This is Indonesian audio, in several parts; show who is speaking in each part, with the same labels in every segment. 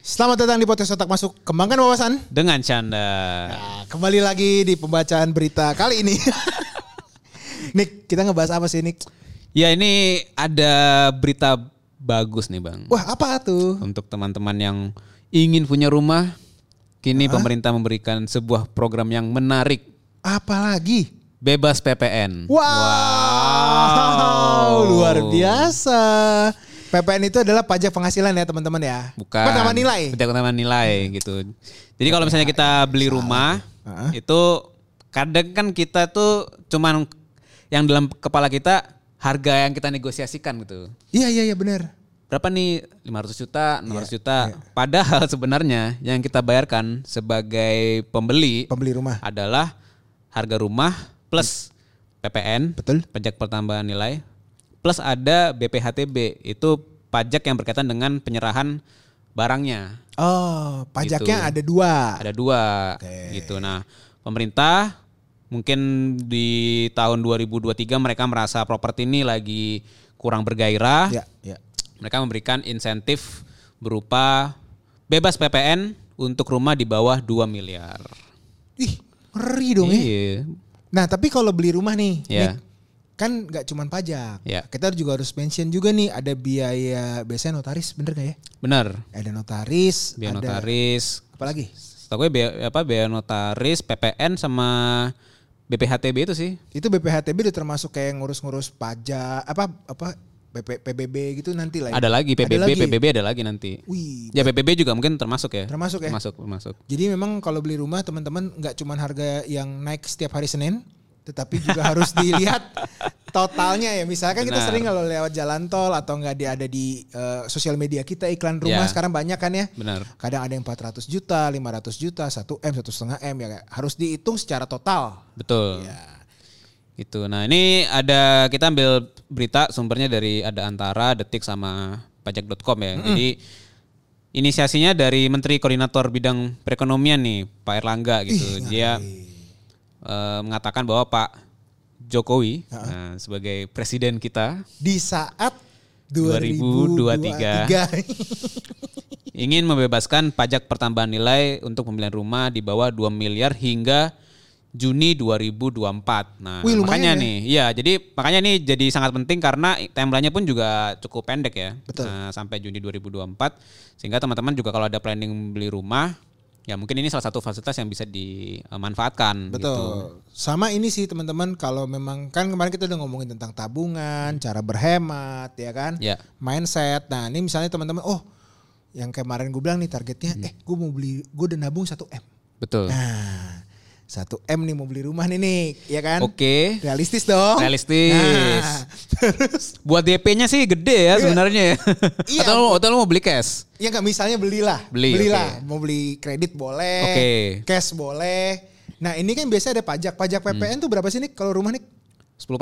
Speaker 1: Selamat datang di podcast Otak Masuk, kembangkan wawasan.
Speaker 2: Dengan canda.
Speaker 1: Nah, kembali lagi di pembacaan berita kali ini. Nick, kita ngebahas apa sih Nick?
Speaker 2: Ya ini ada berita bagus nih bang.
Speaker 1: Wah apa tuh?
Speaker 2: Untuk teman-teman yang ingin punya rumah, kini pemerintah memberikan sebuah program yang menarik.
Speaker 1: Apa lagi?
Speaker 2: Bebas PPN.
Speaker 1: Wow, luar biasa. PPN itu adalah pajak penghasilan ya teman-teman ya.
Speaker 2: Bukan.
Speaker 1: Pertama nilai.
Speaker 2: Bukan pertama nilai gitu. Jadi kalau misalnya kita beli rumah, itu kadang kan kita tuh cuman yang dalam kepala kita harga yang kita negosiasikan gitu.
Speaker 1: Iya iya iya benar.
Speaker 2: berapa nih 500 juta, 600 juta. Padahal sebenarnya yang kita bayarkan sebagai pembeli
Speaker 1: Pembeli rumah.
Speaker 2: adalah harga rumah plus PPN,
Speaker 1: Betul.
Speaker 2: pajak pertambahan nilai, plus ada BPHTB, itu pajak yang berkaitan dengan penyerahan barangnya.
Speaker 1: Oh, pajaknya
Speaker 2: Gitu.
Speaker 1: ada dua.
Speaker 2: Ada dua gitu. Nah, pemerintah mungkin di tahun 2023 mereka merasa properti ini lagi kurang bergairah
Speaker 1: Ya, ya.
Speaker 2: mereka memberikan insentif berupa bebas PPN untuk rumah di bawah 2 miliar.
Speaker 1: Ih, ngeri dong ya.
Speaker 2: Iya.
Speaker 1: Nah, tapi kalau beli rumah nih,
Speaker 2: Iya.
Speaker 1: Nick, kan nggak cuman pajak.
Speaker 2: Iya.
Speaker 1: Kita juga harus mention juga nih ada biaya biasanya notaris, bener gak ya?
Speaker 2: Benar.
Speaker 1: Ada notaris,
Speaker 2: Biaya
Speaker 1: ada
Speaker 2: notaris.
Speaker 1: apa lagi?
Speaker 2: Setahu gue biaya, apa biaya notaris, PPN sama BPHTB itu sih.
Speaker 1: Itu BPHTB udah termasuk kayak ngurus-ngurus pajak, apa apa BP, PBB gitu nanti lah. ya.
Speaker 2: Ada lagi PBB,
Speaker 1: lagi.
Speaker 2: PBB ada lagi nanti.
Speaker 1: Wih.
Speaker 2: Ya PBB juga mungkin termasuk ya.
Speaker 1: Termasuk ya?
Speaker 2: Termasuk, termasuk.
Speaker 1: Jadi memang kalau beli rumah teman-teman nggak cuman harga yang naik setiap hari Senin, tetapi juga harus dilihat totalnya ya. Misalkan kita
Speaker 2: Benar.
Speaker 1: sering kalau lewat jalan tol atau nggak di- ada di eh, sosial media kita iklan rumah
Speaker 2: Ya.
Speaker 1: sekarang banyak kan ya.
Speaker 2: Benar.
Speaker 1: Kadang ada yang 400 juta, 500 juta, 1 M, 1,5 M ya. kayak Harus dihitung secara total.
Speaker 2: Betul. Gitu. Nah, ini ada kita ambil berita sumbernya dari ada Antara, Detik sama pajak.com ya. Jadi inisiasinya dari Menteri Koordinator Bidang Perekonomian nih, Pak Erlangga gitu. Dia eh, mengatakan bahwa Pak Jokowi nah, sebagai presiden kita
Speaker 1: Di saat 2023.
Speaker 2: 2023. ingin membebaskan pajak pertambahan nilai untuk pembelian rumah di bawah 2 miliar hingga Juni 2024. Nah,
Speaker 1: Wih, lumayan
Speaker 2: makanya
Speaker 1: ya.
Speaker 2: nih, iya, jadi makanya nih jadi sangat penting karena timelinenya pun juga cukup pendek ya.
Speaker 1: Betul.
Speaker 2: Nah, sampai Juni 2024 sehingga teman-teman juga kalau ada planning beli rumah, ya mungkin ini salah satu fasilitas yang bisa dimanfaatkan gitu.
Speaker 1: Betul. Sama ini sih teman-teman kalau memang kan kemarin kita udah ngomongin tentang tabungan, cara berhemat ya kan.
Speaker 2: Ya.
Speaker 1: Mindset. Nah, ini misalnya teman-teman oh yang kemarin gue bilang nih targetnya eh gue mau beli gue udah nabung 1 M.
Speaker 2: Hmm. Betul.
Speaker 1: Nah, 1 M nih mau beli rumah nih nih, ya kan?
Speaker 2: Oke.
Speaker 1: Realistis dong.
Speaker 2: Realistis.
Speaker 1: Nah, terus
Speaker 2: Buat DP-nya sih gede ya sebenarnya. ya.
Speaker 1: Iya.
Speaker 2: atau, lu- atau lu mau beli cash?
Speaker 1: Ya nggak misalnya belilah,
Speaker 2: Beli,
Speaker 1: belilah. Mau beli kredit boleh,
Speaker 2: Oke.
Speaker 1: cash boleh. Nah ini kan biasa ada pajak, pajak
Speaker 2: Hmm.
Speaker 1: PPN tuh berapa sih nih kalau rumah nih?
Speaker 2: 10%.
Speaker 1: 10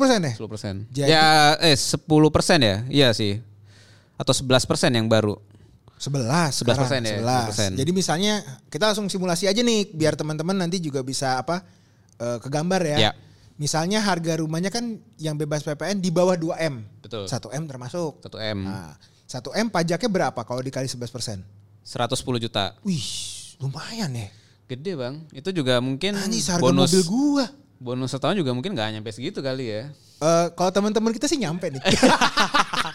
Speaker 1: persen ya?
Speaker 2: 10 persen.
Speaker 1: Jadi-
Speaker 2: Ya eh 10 persen ya, iya sih. Atau 11 persen yang baru.
Speaker 1: 11,
Speaker 2: 11%
Speaker 1: sekarang,
Speaker 2: ya,
Speaker 1: 11.
Speaker 2: 10%.
Speaker 1: Jadi misalnya kita langsung simulasi aja nih biar teman-teman nanti juga bisa apa eh, kegambar ya.
Speaker 2: Ya.
Speaker 1: Misalnya harga rumahnya kan yang bebas PPN di bawah 2 M.
Speaker 2: Betul.
Speaker 1: 1 M termasuk.
Speaker 2: 1 M.
Speaker 1: Nah, 1 M pajaknya berapa kalau dikali 11 persen?
Speaker 2: 110 juta.
Speaker 1: Wih lumayan ya.
Speaker 2: Gede bang. Itu juga mungkin
Speaker 1: Anjir harga
Speaker 2: bonus
Speaker 1: Ah, mobil gua.
Speaker 2: bonus setahun juga mungkin nggak nyampe segitu kali ya.
Speaker 1: Eh, kalau teman-teman kita sih nyampe nih.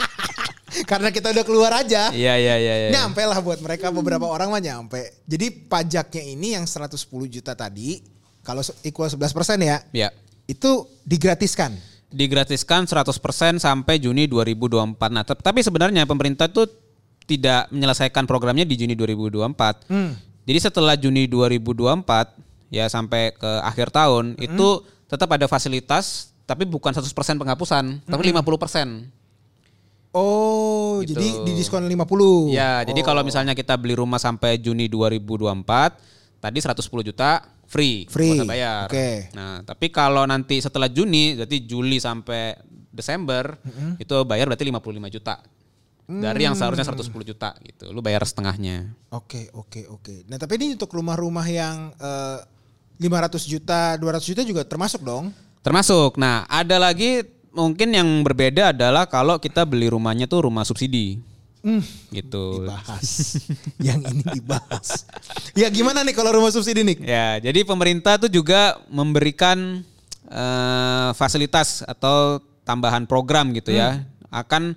Speaker 1: Karena kita udah keluar aja.
Speaker 2: Iya iya iya. iya.
Speaker 1: Nyampe lah buat mereka beberapa orang mah nyampe. Jadi pajaknya ini yang 110 juta tadi kalau se- equal 11% ya,
Speaker 2: Ya.
Speaker 1: itu digratiskan.
Speaker 2: Digratiskan 100% sampai Juni 2024. Nah, tep- tapi sebenarnya pemerintah tuh tidak menyelesaikan programnya di Juni 2024. Jadi setelah Juni 2024 ya sampai ke akhir tahun itu tetap ada fasilitas tapi bukan 100% penghapusan, tapi 50%.
Speaker 1: Oh,
Speaker 2: Gitu.
Speaker 1: jadi di diskon 50.
Speaker 2: Ya, jadi kalau misalnya kita beli rumah sampai Juni 2024, tadi 110 juta free,
Speaker 1: Free,
Speaker 2: nggak usah bayar.
Speaker 1: oke.
Speaker 2: Nah, tapi kalau nanti setelah Juni, berarti Juli sampai Desember itu bayar berarti 55 juta. Dari yang seharusnya 110 juta gitu. Lu bayar setengahnya.
Speaker 1: Oke, oke, oke. Nah, tapi ini untuk rumah-rumah yang eh, 500 juta, 200 juta juga termasuk dong.
Speaker 2: Termasuk. Nah, ada lagi mungkin yang berbeda adalah kalau kita beli rumahnya tuh rumah subsidi.
Speaker 1: Hmm,
Speaker 2: gitu.
Speaker 1: dibahas. yang ini dibahas. ya gimana nih kalau rumah subsidi nih?
Speaker 2: Ya, jadi pemerintah tuh juga memberikan eh, fasilitas atau tambahan program gitu ya. Akan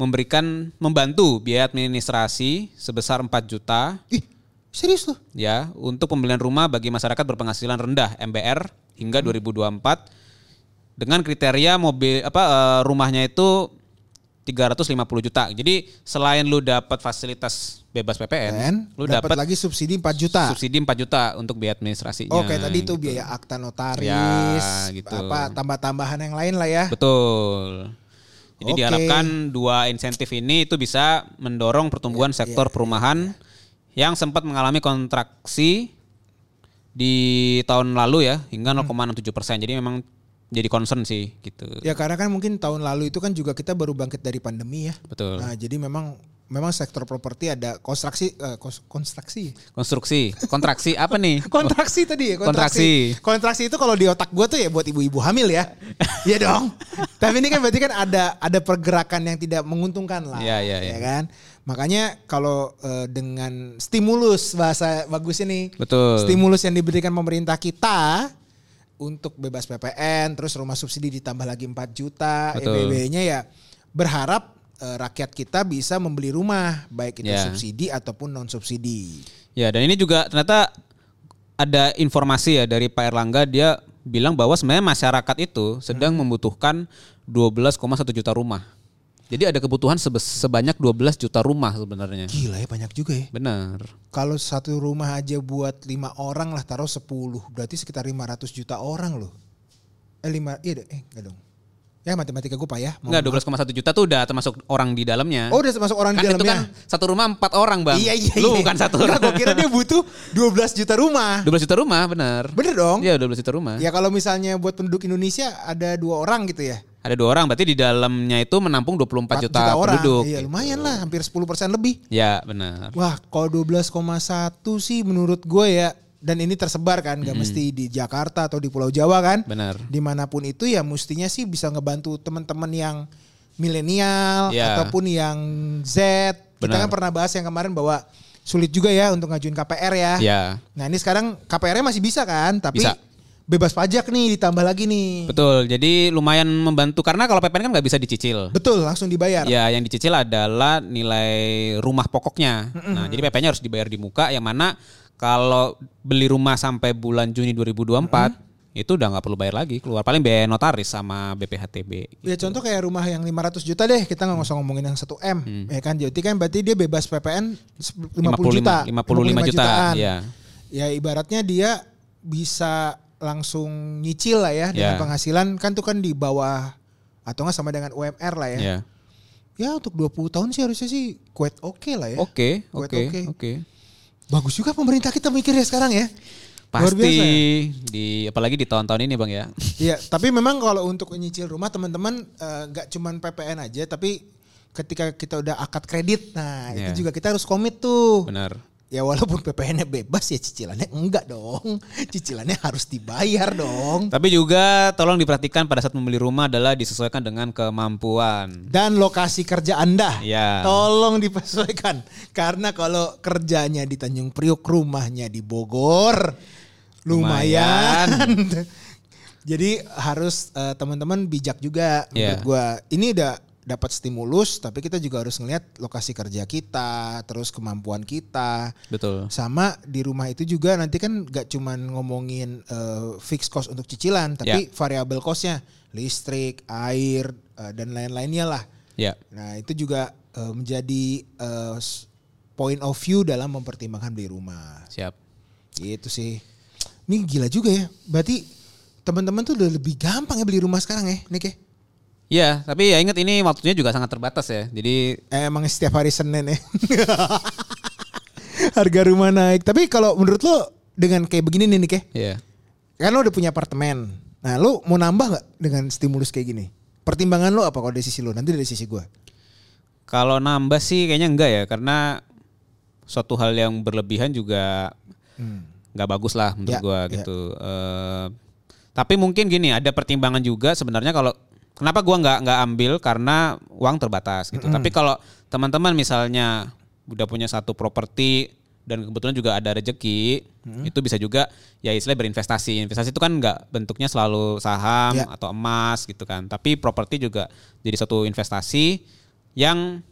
Speaker 2: memberikan membantu biaya administrasi sebesar 4 juta
Speaker 1: Ih, serius loh.
Speaker 2: ya untuk pembelian rumah bagi masyarakat berpenghasilan rendah MBR hingga 2024 dengan kriteria mobil apa eh, rumahnya itu 350 juta. Jadi selain lu dapat fasilitas bebas PPN,
Speaker 1: Dan
Speaker 2: lu
Speaker 1: dapat
Speaker 2: dapat
Speaker 1: lagi Kan. subsidi 4 juta.
Speaker 2: subsidi 4 juta untuk biaya administrasinya.
Speaker 1: Oke, Oh, tadi itu biaya akta notaris,
Speaker 2: Iya, gitu. Ya, gitu.
Speaker 1: apa tambah-tambahan yang lain lah ya.
Speaker 2: Betul. Jadi
Speaker 1: Oke.
Speaker 2: diharapkan dua insentif ini itu bisa mendorong
Speaker 1: Ya,
Speaker 2: pertumbuhan sektor perumahan yang sempat mengalami kontraksi di tahun lalu ya hingga
Speaker 1: Hmm.
Speaker 2: 0,67 persen. Jadi memang jadi concern sih gitu.
Speaker 1: Ya karena kan mungkin tahun lalu itu kan juga kita baru bangkit dari pandemi ya.
Speaker 2: Betul.
Speaker 1: Nah, jadi memang memang sektor properti ada konstruksi eh, kos- konstruksi.
Speaker 2: Konstruksi, kontraksi apa nih?
Speaker 1: Kontraksi tadi ya, kontraksi. Kontraksi, itu kalau di otak gue tuh ya buat ibu-ibu hamil ya. Iya dong. Tapi ini kan berarti kan ada ada pergerakan yang tidak menguntungkan lah.
Speaker 2: Iya, iya, iya.
Speaker 1: Ya kan? Makanya kalau eh, dengan stimulus bahasa bagus ini.
Speaker 2: Betul.
Speaker 1: Stimulus yang diberikan pemerintah kita untuk bebas PPN, terus rumah subsidi ditambah lagi 4 juta,
Speaker 2: Betul.
Speaker 1: EBB-nya ya berharap eh, rakyat kita bisa membeli rumah baik itu
Speaker 2: Ya.
Speaker 1: subsidi ataupun non subsidi.
Speaker 2: Ya, dan ini juga ternyata ada informasi ya dari Pak Erlangga dia bilang bahwa sebenarnya masyarakat itu sedang
Speaker 1: Hmm.
Speaker 2: membutuhkan 12,1 juta rumah. Jadi ada kebutuhan sebes- sebanyak 12 juta rumah sebenarnya.
Speaker 1: Gila ya banyak juga ya.
Speaker 2: Benar.
Speaker 1: Kalau satu rumah aja buat lima orang lah taruh 10 berarti sekitar 500 juta orang loh. Eh lima iya deh, eh enggak dong. Ya matematika gue payah. Mau-
Speaker 2: Enggak 12,1 juta tuh udah termasuk orang di dalamnya.
Speaker 1: Oh udah masuk orang
Speaker 2: kan
Speaker 1: di
Speaker 2: itu
Speaker 1: dalamnya.
Speaker 2: kan satu rumah empat orang, Bang.
Speaker 1: Iya iya.
Speaker 2: Lu
Speaker 1: iya.
Speaker 2: bukan satu
Speaker 1: Enggak,
Speaker 2: orang.
Speaker 1: gue kira dia butuh 12 juta rumah.
Speaker 2: 12 juta rumah, benar.
Speaker 1: Bener dong?
Speaker 2: Iya, 12 juta rumah.
Speaker 1: Ya kalau misalnya buat penduduk Indonesia ada dua orang gitu ya.
Speaker 2: Ada dua orang, berarti di dalamnya itu menampung
Speaker 1: 4
Speaker 2: 24 juta,
Speaker 1: juta orang.
Speaker 2: penduduk. gitu.
Speaker 1: Iya lumayan lah hampir 10% lebih.
Speaker 2: Ya, benar.
Speaker 1: Wah kalau 12,1 sih menurut gue ya. Dan ini tersebar kan gak mesti di Jakarta atau di Pulau Jawa kan.
Speaker 2: Benar.
Speaker 1: dimanapun itu ya mestinya sih bisa ngebantu teman-teman yang milenial
Speaker 2: Ya.
Speaker 1: ataupun yang Z. Kita
Speaker 2: Benar.
Speaker 1: kan pernah bahas yang kemarin bahwa sulit juga ya untuk ngajuin KPR ya.
Speaker 2: Ya.
Speaker 1: Nah ini sekarang KPR-nya masih bisa kan, tapi
Speaker 2: Bisa.
Speaker 1: bebas pajak nih ditambah lagi nih.
Speaker 2: Betul, jadi lumayan membantu karena kalau PPN kan nggak bisa dicicil.
Speaker 1: Betul, langsung dibayar.
Speaker 2: Ya, yang dicicil adalah nilai rumah pokoknya. Nah, jadi PPN-nya harus dibayar di muka yang mana kalau beli rumah sampai bulan Juni 2024 itu udah nggak perlu bayar lagi keluar paling biaya notaris sama BPHTB.
Speaker 1: Ya contoh kayak rumah yang 500 juta deh, kita nggak usah ngomongin yang 1 M,
Speaker 2: Hmm.
Speaker 1: ya kan? Jadi kan berarti dia bebas PPN 50 juta,
Speaker 2: 55 55 juta,
Speaker 1: jutaan.
Speaker 2: ya.
Speaker 1: ya ibaratnya dia bisa langsung nyicil lah ya dengan
Speaker 2: Ya.
Speaker 1: penghasilan kan tuh kan di bawah atau nggak sama dengan UMR lah ya.
Speaker 2: Ya.
Speaker 1: Ya untuk 20 tahun sih harusnya sih quite oke lah ya.
Speaker 2: Oke,
Speaker 1: Buat
Speaker 2: oke,
Speaker 1: oke.
Speaker 2: oke.
Speaker 1: Bagus juga pemerintah kita mikirnya sekarang ya. Luar
Speaker 2: Pasti
Speaker 1: biasa ya.
Speaker 2: di apalagi di tahun-tahun ini, Bang ya.
Speaker 1: Iya, tapi memang kalau untuk nyicil rumah teman-teman eh, nggak cuman PPN aja tapi ketika kita udah akad kredit nah
Speaker 2: Ya.
Speaker 1: itu juga kita harus komit tuh.
Speaker 2: Benar.
Speaker 1: Ya walaupun PPN-nya bebas ya cicilannya enggak dong. Cicilannya harus dibayar dong.
Speaker 2: Tapi juga tolong diperhatikan pada saat membeli rumah adalah disesuaikan dengan kemampuan.
Speaker 1: dan lokasi kerja Anda.
Speaker 2: Ya.
Speaker 1: Tolong disesuaikan karena kalau kerjanya di Tanjung Priuk, rumahnya di Bogor, lumayan. Jadi harus eh, teman-teman bijak juga
Speaker 2: Ya.
Speaker 1: menurut gua. Ini udah dapat stimulus, tapi kita juga harus ngelihat lokasi kerja kita, terus kemampuan kita.
Speaker 2: Betul.
Speaker 1: Sama di rumah itu juga nanti kan gak cuman ngomongin eh, fixed cost untuk cicilan, tapi variabel costnya listrik, air eh, dan lain-lainnya lah.
Speaker 2: Ya.
Speaker 1: Nah itu juga eh, menjadi eh, s- point of view dalam mempertimbangkan beli rumah.
Speaker 2: Siap.
Speaker 1: Gitu sih. Ini gila juga ya. Berarti teman-teman tuh udah lebih gampang ya beli rumah sekarang ya, Nick ya?
Speaker 2: Ya, tapi ya ingat ini waktunya juga sangat terbatas ya. Jadi
Speaker 1: Eh, Emang setiap hari Senin ya. Harga rumah naik. Tapi kalau menurut lo dengan kayak begini nih Nick ya,
Speaker 2: ya.
Speaker 1: Kan lo udah punya apartemen. Nah lo mau nambah nggak dengan stimulus kayak gini? Pertimbangan lo apa kalau dari sisi lo? Nanti dari sisi gue.
Speaker 2: Kalau nambah sih kayaknya enggak ya karena suatu hal yang berlebihan juga nggak bagus lah menurut
Speaker 1: Ya,
Speaker 2: gua
Speaker 1: ya.
Speaker 2: gitu. Eh, tapi mungkin gini, ada pertimbangan juga sebenarnya kalau Kenapa gua nggak nggak ambil karena uang terbatas gitu. Tapi kalau teman-teman misalnya udah punya satu properti dan kebetulan juga ada rejeki, itu bisa juga ya istilah berinvestasi. Investasi itu kan nggak bentuknya selalu saham
Speaker 1: Ya.
Speaker 2: atau emas gitu kan. Tapi properti juga jadi satu investasi yang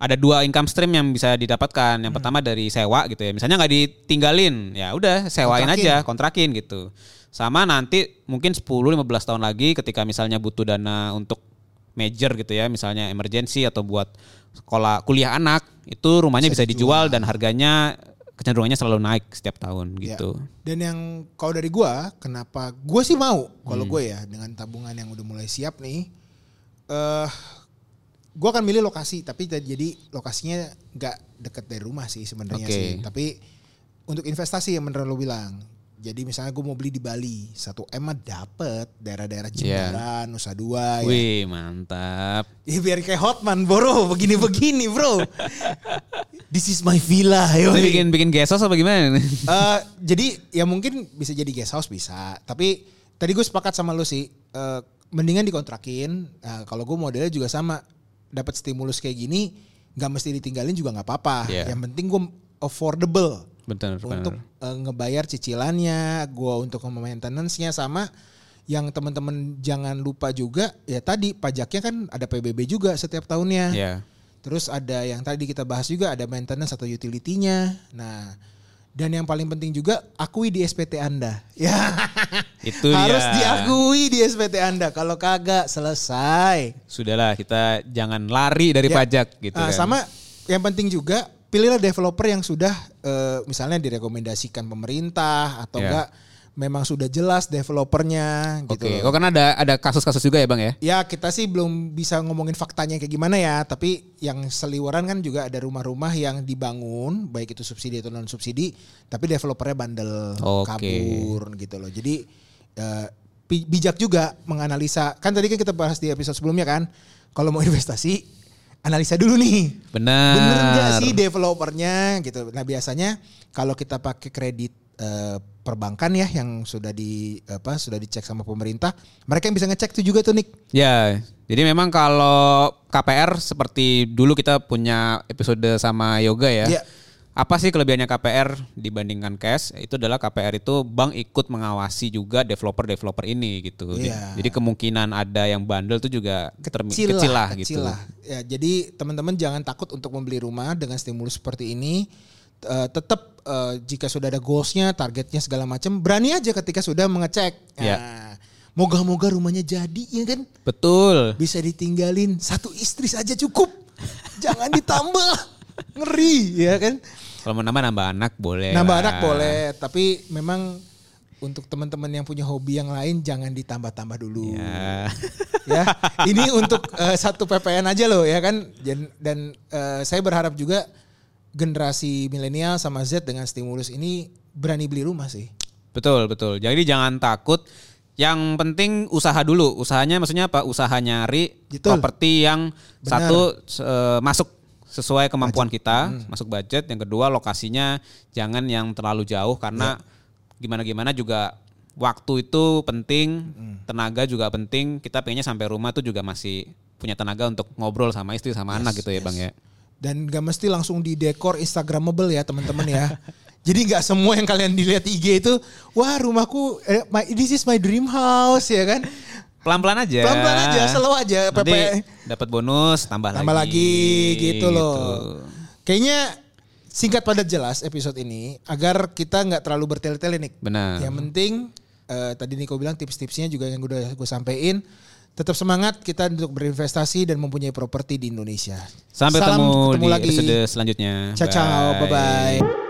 Speaker 2: ada dua income stream yang bisa didapatkan. Yang pertama dari sewa gitu ya. Misalnya nggak ditinggalin, ya udah sewain
Speaker 1: Kontrakin.
Speaker 2: aja, kontrakin gitu. Sama nanti mungkin 10 15 tahun lagi ketika misalnya butuh dana untuk major gitu ya, misalnya emergency atau buat sekolah kuliah anak, itu rumahnya bisa, dijual dan harganya kecenderungannya selalu naik setiap tahun
Speaker 1: Ya.
Speaker 2: gitu.
Speaker 1: Dan yang kalau dari gua, kenapa gua sih mau kalau
Speaker 2: Hmm.
Speaker 1: gue ya dengan tabungan yang udah mulai siap nih. eh gua akan milih lokasi tapi t- jadi lokasinya nggak deket dari rumah sih sebenarnya
Speaker 2: Oke.
Speaker 1: sih. Tapi untuk investasi yang bener lo bilang. Jadi misalnya gue mau beli di Bali, satu M mah dapet daerah-daerah Jimbaran, Nusa Dua ya.
Speaker 2: Iya. Wih, mantap.
Speaker 1: Ya biar kayak Hotman, bro, begini-begini, bro. This is my villa, yo.
Speaker 2: Ini bikin bikin gesos apa gimana? nih?
Speaker 1: Eh, jadi ya mungkin bisa jadi guest house bisa. Tapi tadi gue sepakat sama lu sih. eh, mendingan dikontrakin. Nah, kalau gue modelnya juga sama. Dapat stimulus kayak gini, nggak mesti ditinggalin juga nggak apa-apa.
Speaker 2: Iya.
Speaker 1: Yang penting gue affordable
Speaker 2: Bentar,
Speaker 1: untuk eh, ngebayar cicilannya, gue untuk maintenance-nya sama yang teman-teman jangan lupa juga ya tadi pajaknya kan ada PBB juga setiap tahunnya.
Speaker 2: Ya.
Speaker 1: Terus ada yang tadi kita bahas juga ada maintenance atau utility-nya. Nah, dan yang paling penting juga akui di SPT Anda. Ya.
Speaker 2: Itu
Speaker 1: Harus
Speaker 2: ya.
Speaker 1: diakui di SPT Anda. Kalau kagak selesai.
Speaker 2: Sudahlah kita jangan lari dari
Speaker 1: Ya.
Speaker 2: pajak gitu
Speaker 1: Ah,
Speaker 2: kan.
Speaker 1: Sama yang penting juga pilihlah developer yang sudah eh, misalnya direkomendasikan pemerintah atau
Speaker 2: Ya.
Speaker 1: enggak memang sudah jelas developernya gitu.
Speaker 2: Oke,
Speaker 1: loh.
Speaker 2: kok kan ada ada kasus-kasus juga ya, Bang ya?
Speaker 1: Ya kita sih belum bisa ngomongin faktanya kayak gimana ya, tapi yang seliweran kan juga ada rumah-rumah yang dibangun, baik itu subsidi atau non subsidi, tapi developernya bandel,
Speaker 2: Oke.
Speaker 1: kabur gitu loh. Jadi eh, bi- bijak juga menganalisa. Kan tadi kan kita bahas di episode sebelumnya kan, kalau mau investasi analisa dulu nih.
Speaker 2: Benar.
Speaker 1: Bener nggak sih developernya gitu. Nah biasanya kalau kita pakai kredit eh, perbankan ya yang sudah di apa sudah dicek sama pemerintah, mereka yang bisa ngecek tuh juga tuh Nick.
Speaker 2: Ya, jadi memang kalau KPR seperti dulu kita punya episode sama Yoga ya.
Speaker 1: Iya.
Speaker 2: Apa sih kelebihannya KPR dibandingkan cash? Itu adalah KPR itu bank ikut mengawasi juga developer-developer ini gitu.
Speaker 1: Iya.
Speaker 2: Jadi kemungkinan ada yang bandel itu juga termi-
Speaker 1: Kecil, lah,
Speaker 2: gitu.
Speaker 1: kecil lah. Ya, jadi teman-teman jangan takut untuk membeli rumah dengan stimulus seperti ini. Eh, tetap eh, jika sudah ada goalsnya, targetnya segala macam, berani aja ketika sudah mengecek.
Speaker 2: Iya.
Speaker 1: Nah, moga-moga rumahnya jadi ya kan.
Speaker 2: Betul.
Speaker 1: bisa ditinggalin satu istri saja cukup jangan ditambah ngeri ya kan
Speaker 2: Kalau mau nambah nambah anak boleh.
Speaker 1: nambah
Speaker 2: lah.
Speaker 1: anak boleh tapi memang untuk teman-teman yang punya hobi yang lain jangan ditambah-tambah dulu
Speaker 2: Ya.
Speaker 1: ya ini untuk eh, satu PPN aja loh ya kan dan, dan, eh, saya berharap juga generasi milenial sama Z dengan stimulus ini berani beli rumah sih
Speaker 2: Betul, betul. Jadi jangan takut. Yang penting usaha dulu. Usahanya maksudnya apa? Usaha nyari
Speaker 1: Betul.
Speaker 2: properti yang
Speaker 1: Benar.
Speaker 2: satu se- eh, masuk sesuai kemampuan kita,
Speaker 1: Hmm.
Speaker 2: masuk budget. Yang kedua lokasinya jangan yang terlalu
Speaker 1: Ya.
Speaker 2: jauh karena gimana-gimana juga waktu itu penting,
Speaker 1: Hmm.
Speaker 2: tenaga juga penting. Kita pengennya sampai rumah tuh juga masih punya tenaga untuk ngobrol sama istri sama anak gitu ya, Bang ya.
Speaker 1: dan gak mesti langsung di dekor Instagramable ya teman-teman ya. Jadi nggak semua yang kalian dilihat IG itu, wah rumahku, eh, my, this is my dream house ya kan.
Speaker 2: Pelan-pelan aja.
Speaker 1: Pelan-pelan aja, slow aja,
Speaker 2: Ya. Nanti
Speaker 1: PP.
Speaker 2: dapat bonus, tambah,
Speaker 1: Ya, Tambah lagi gitu
Speaker 2: gitu.
Speaker 1: loh. Kayaknya singkat padat jelas episode ini agar kita nggak terlalu bertele-tele nih.
Speaker 2: Benar.
Speaker 1: Yang penting eh, tadi Niko bilang tips-tipsnya juga yang udah gue sampein. Tetap semangat kita untuk berinvestasi dan mempunyai properti di Indonesia.
Speaker 2: Sampai
Speaker 1: Salam
Speaker 2: ketemu,
Speaker 1: ketemu
Speaker 2: di
Speaker 1: lagi.
Speaker 2: episode selanjutnya.
Speaker 1: Ciao, ciao. Bye-bye.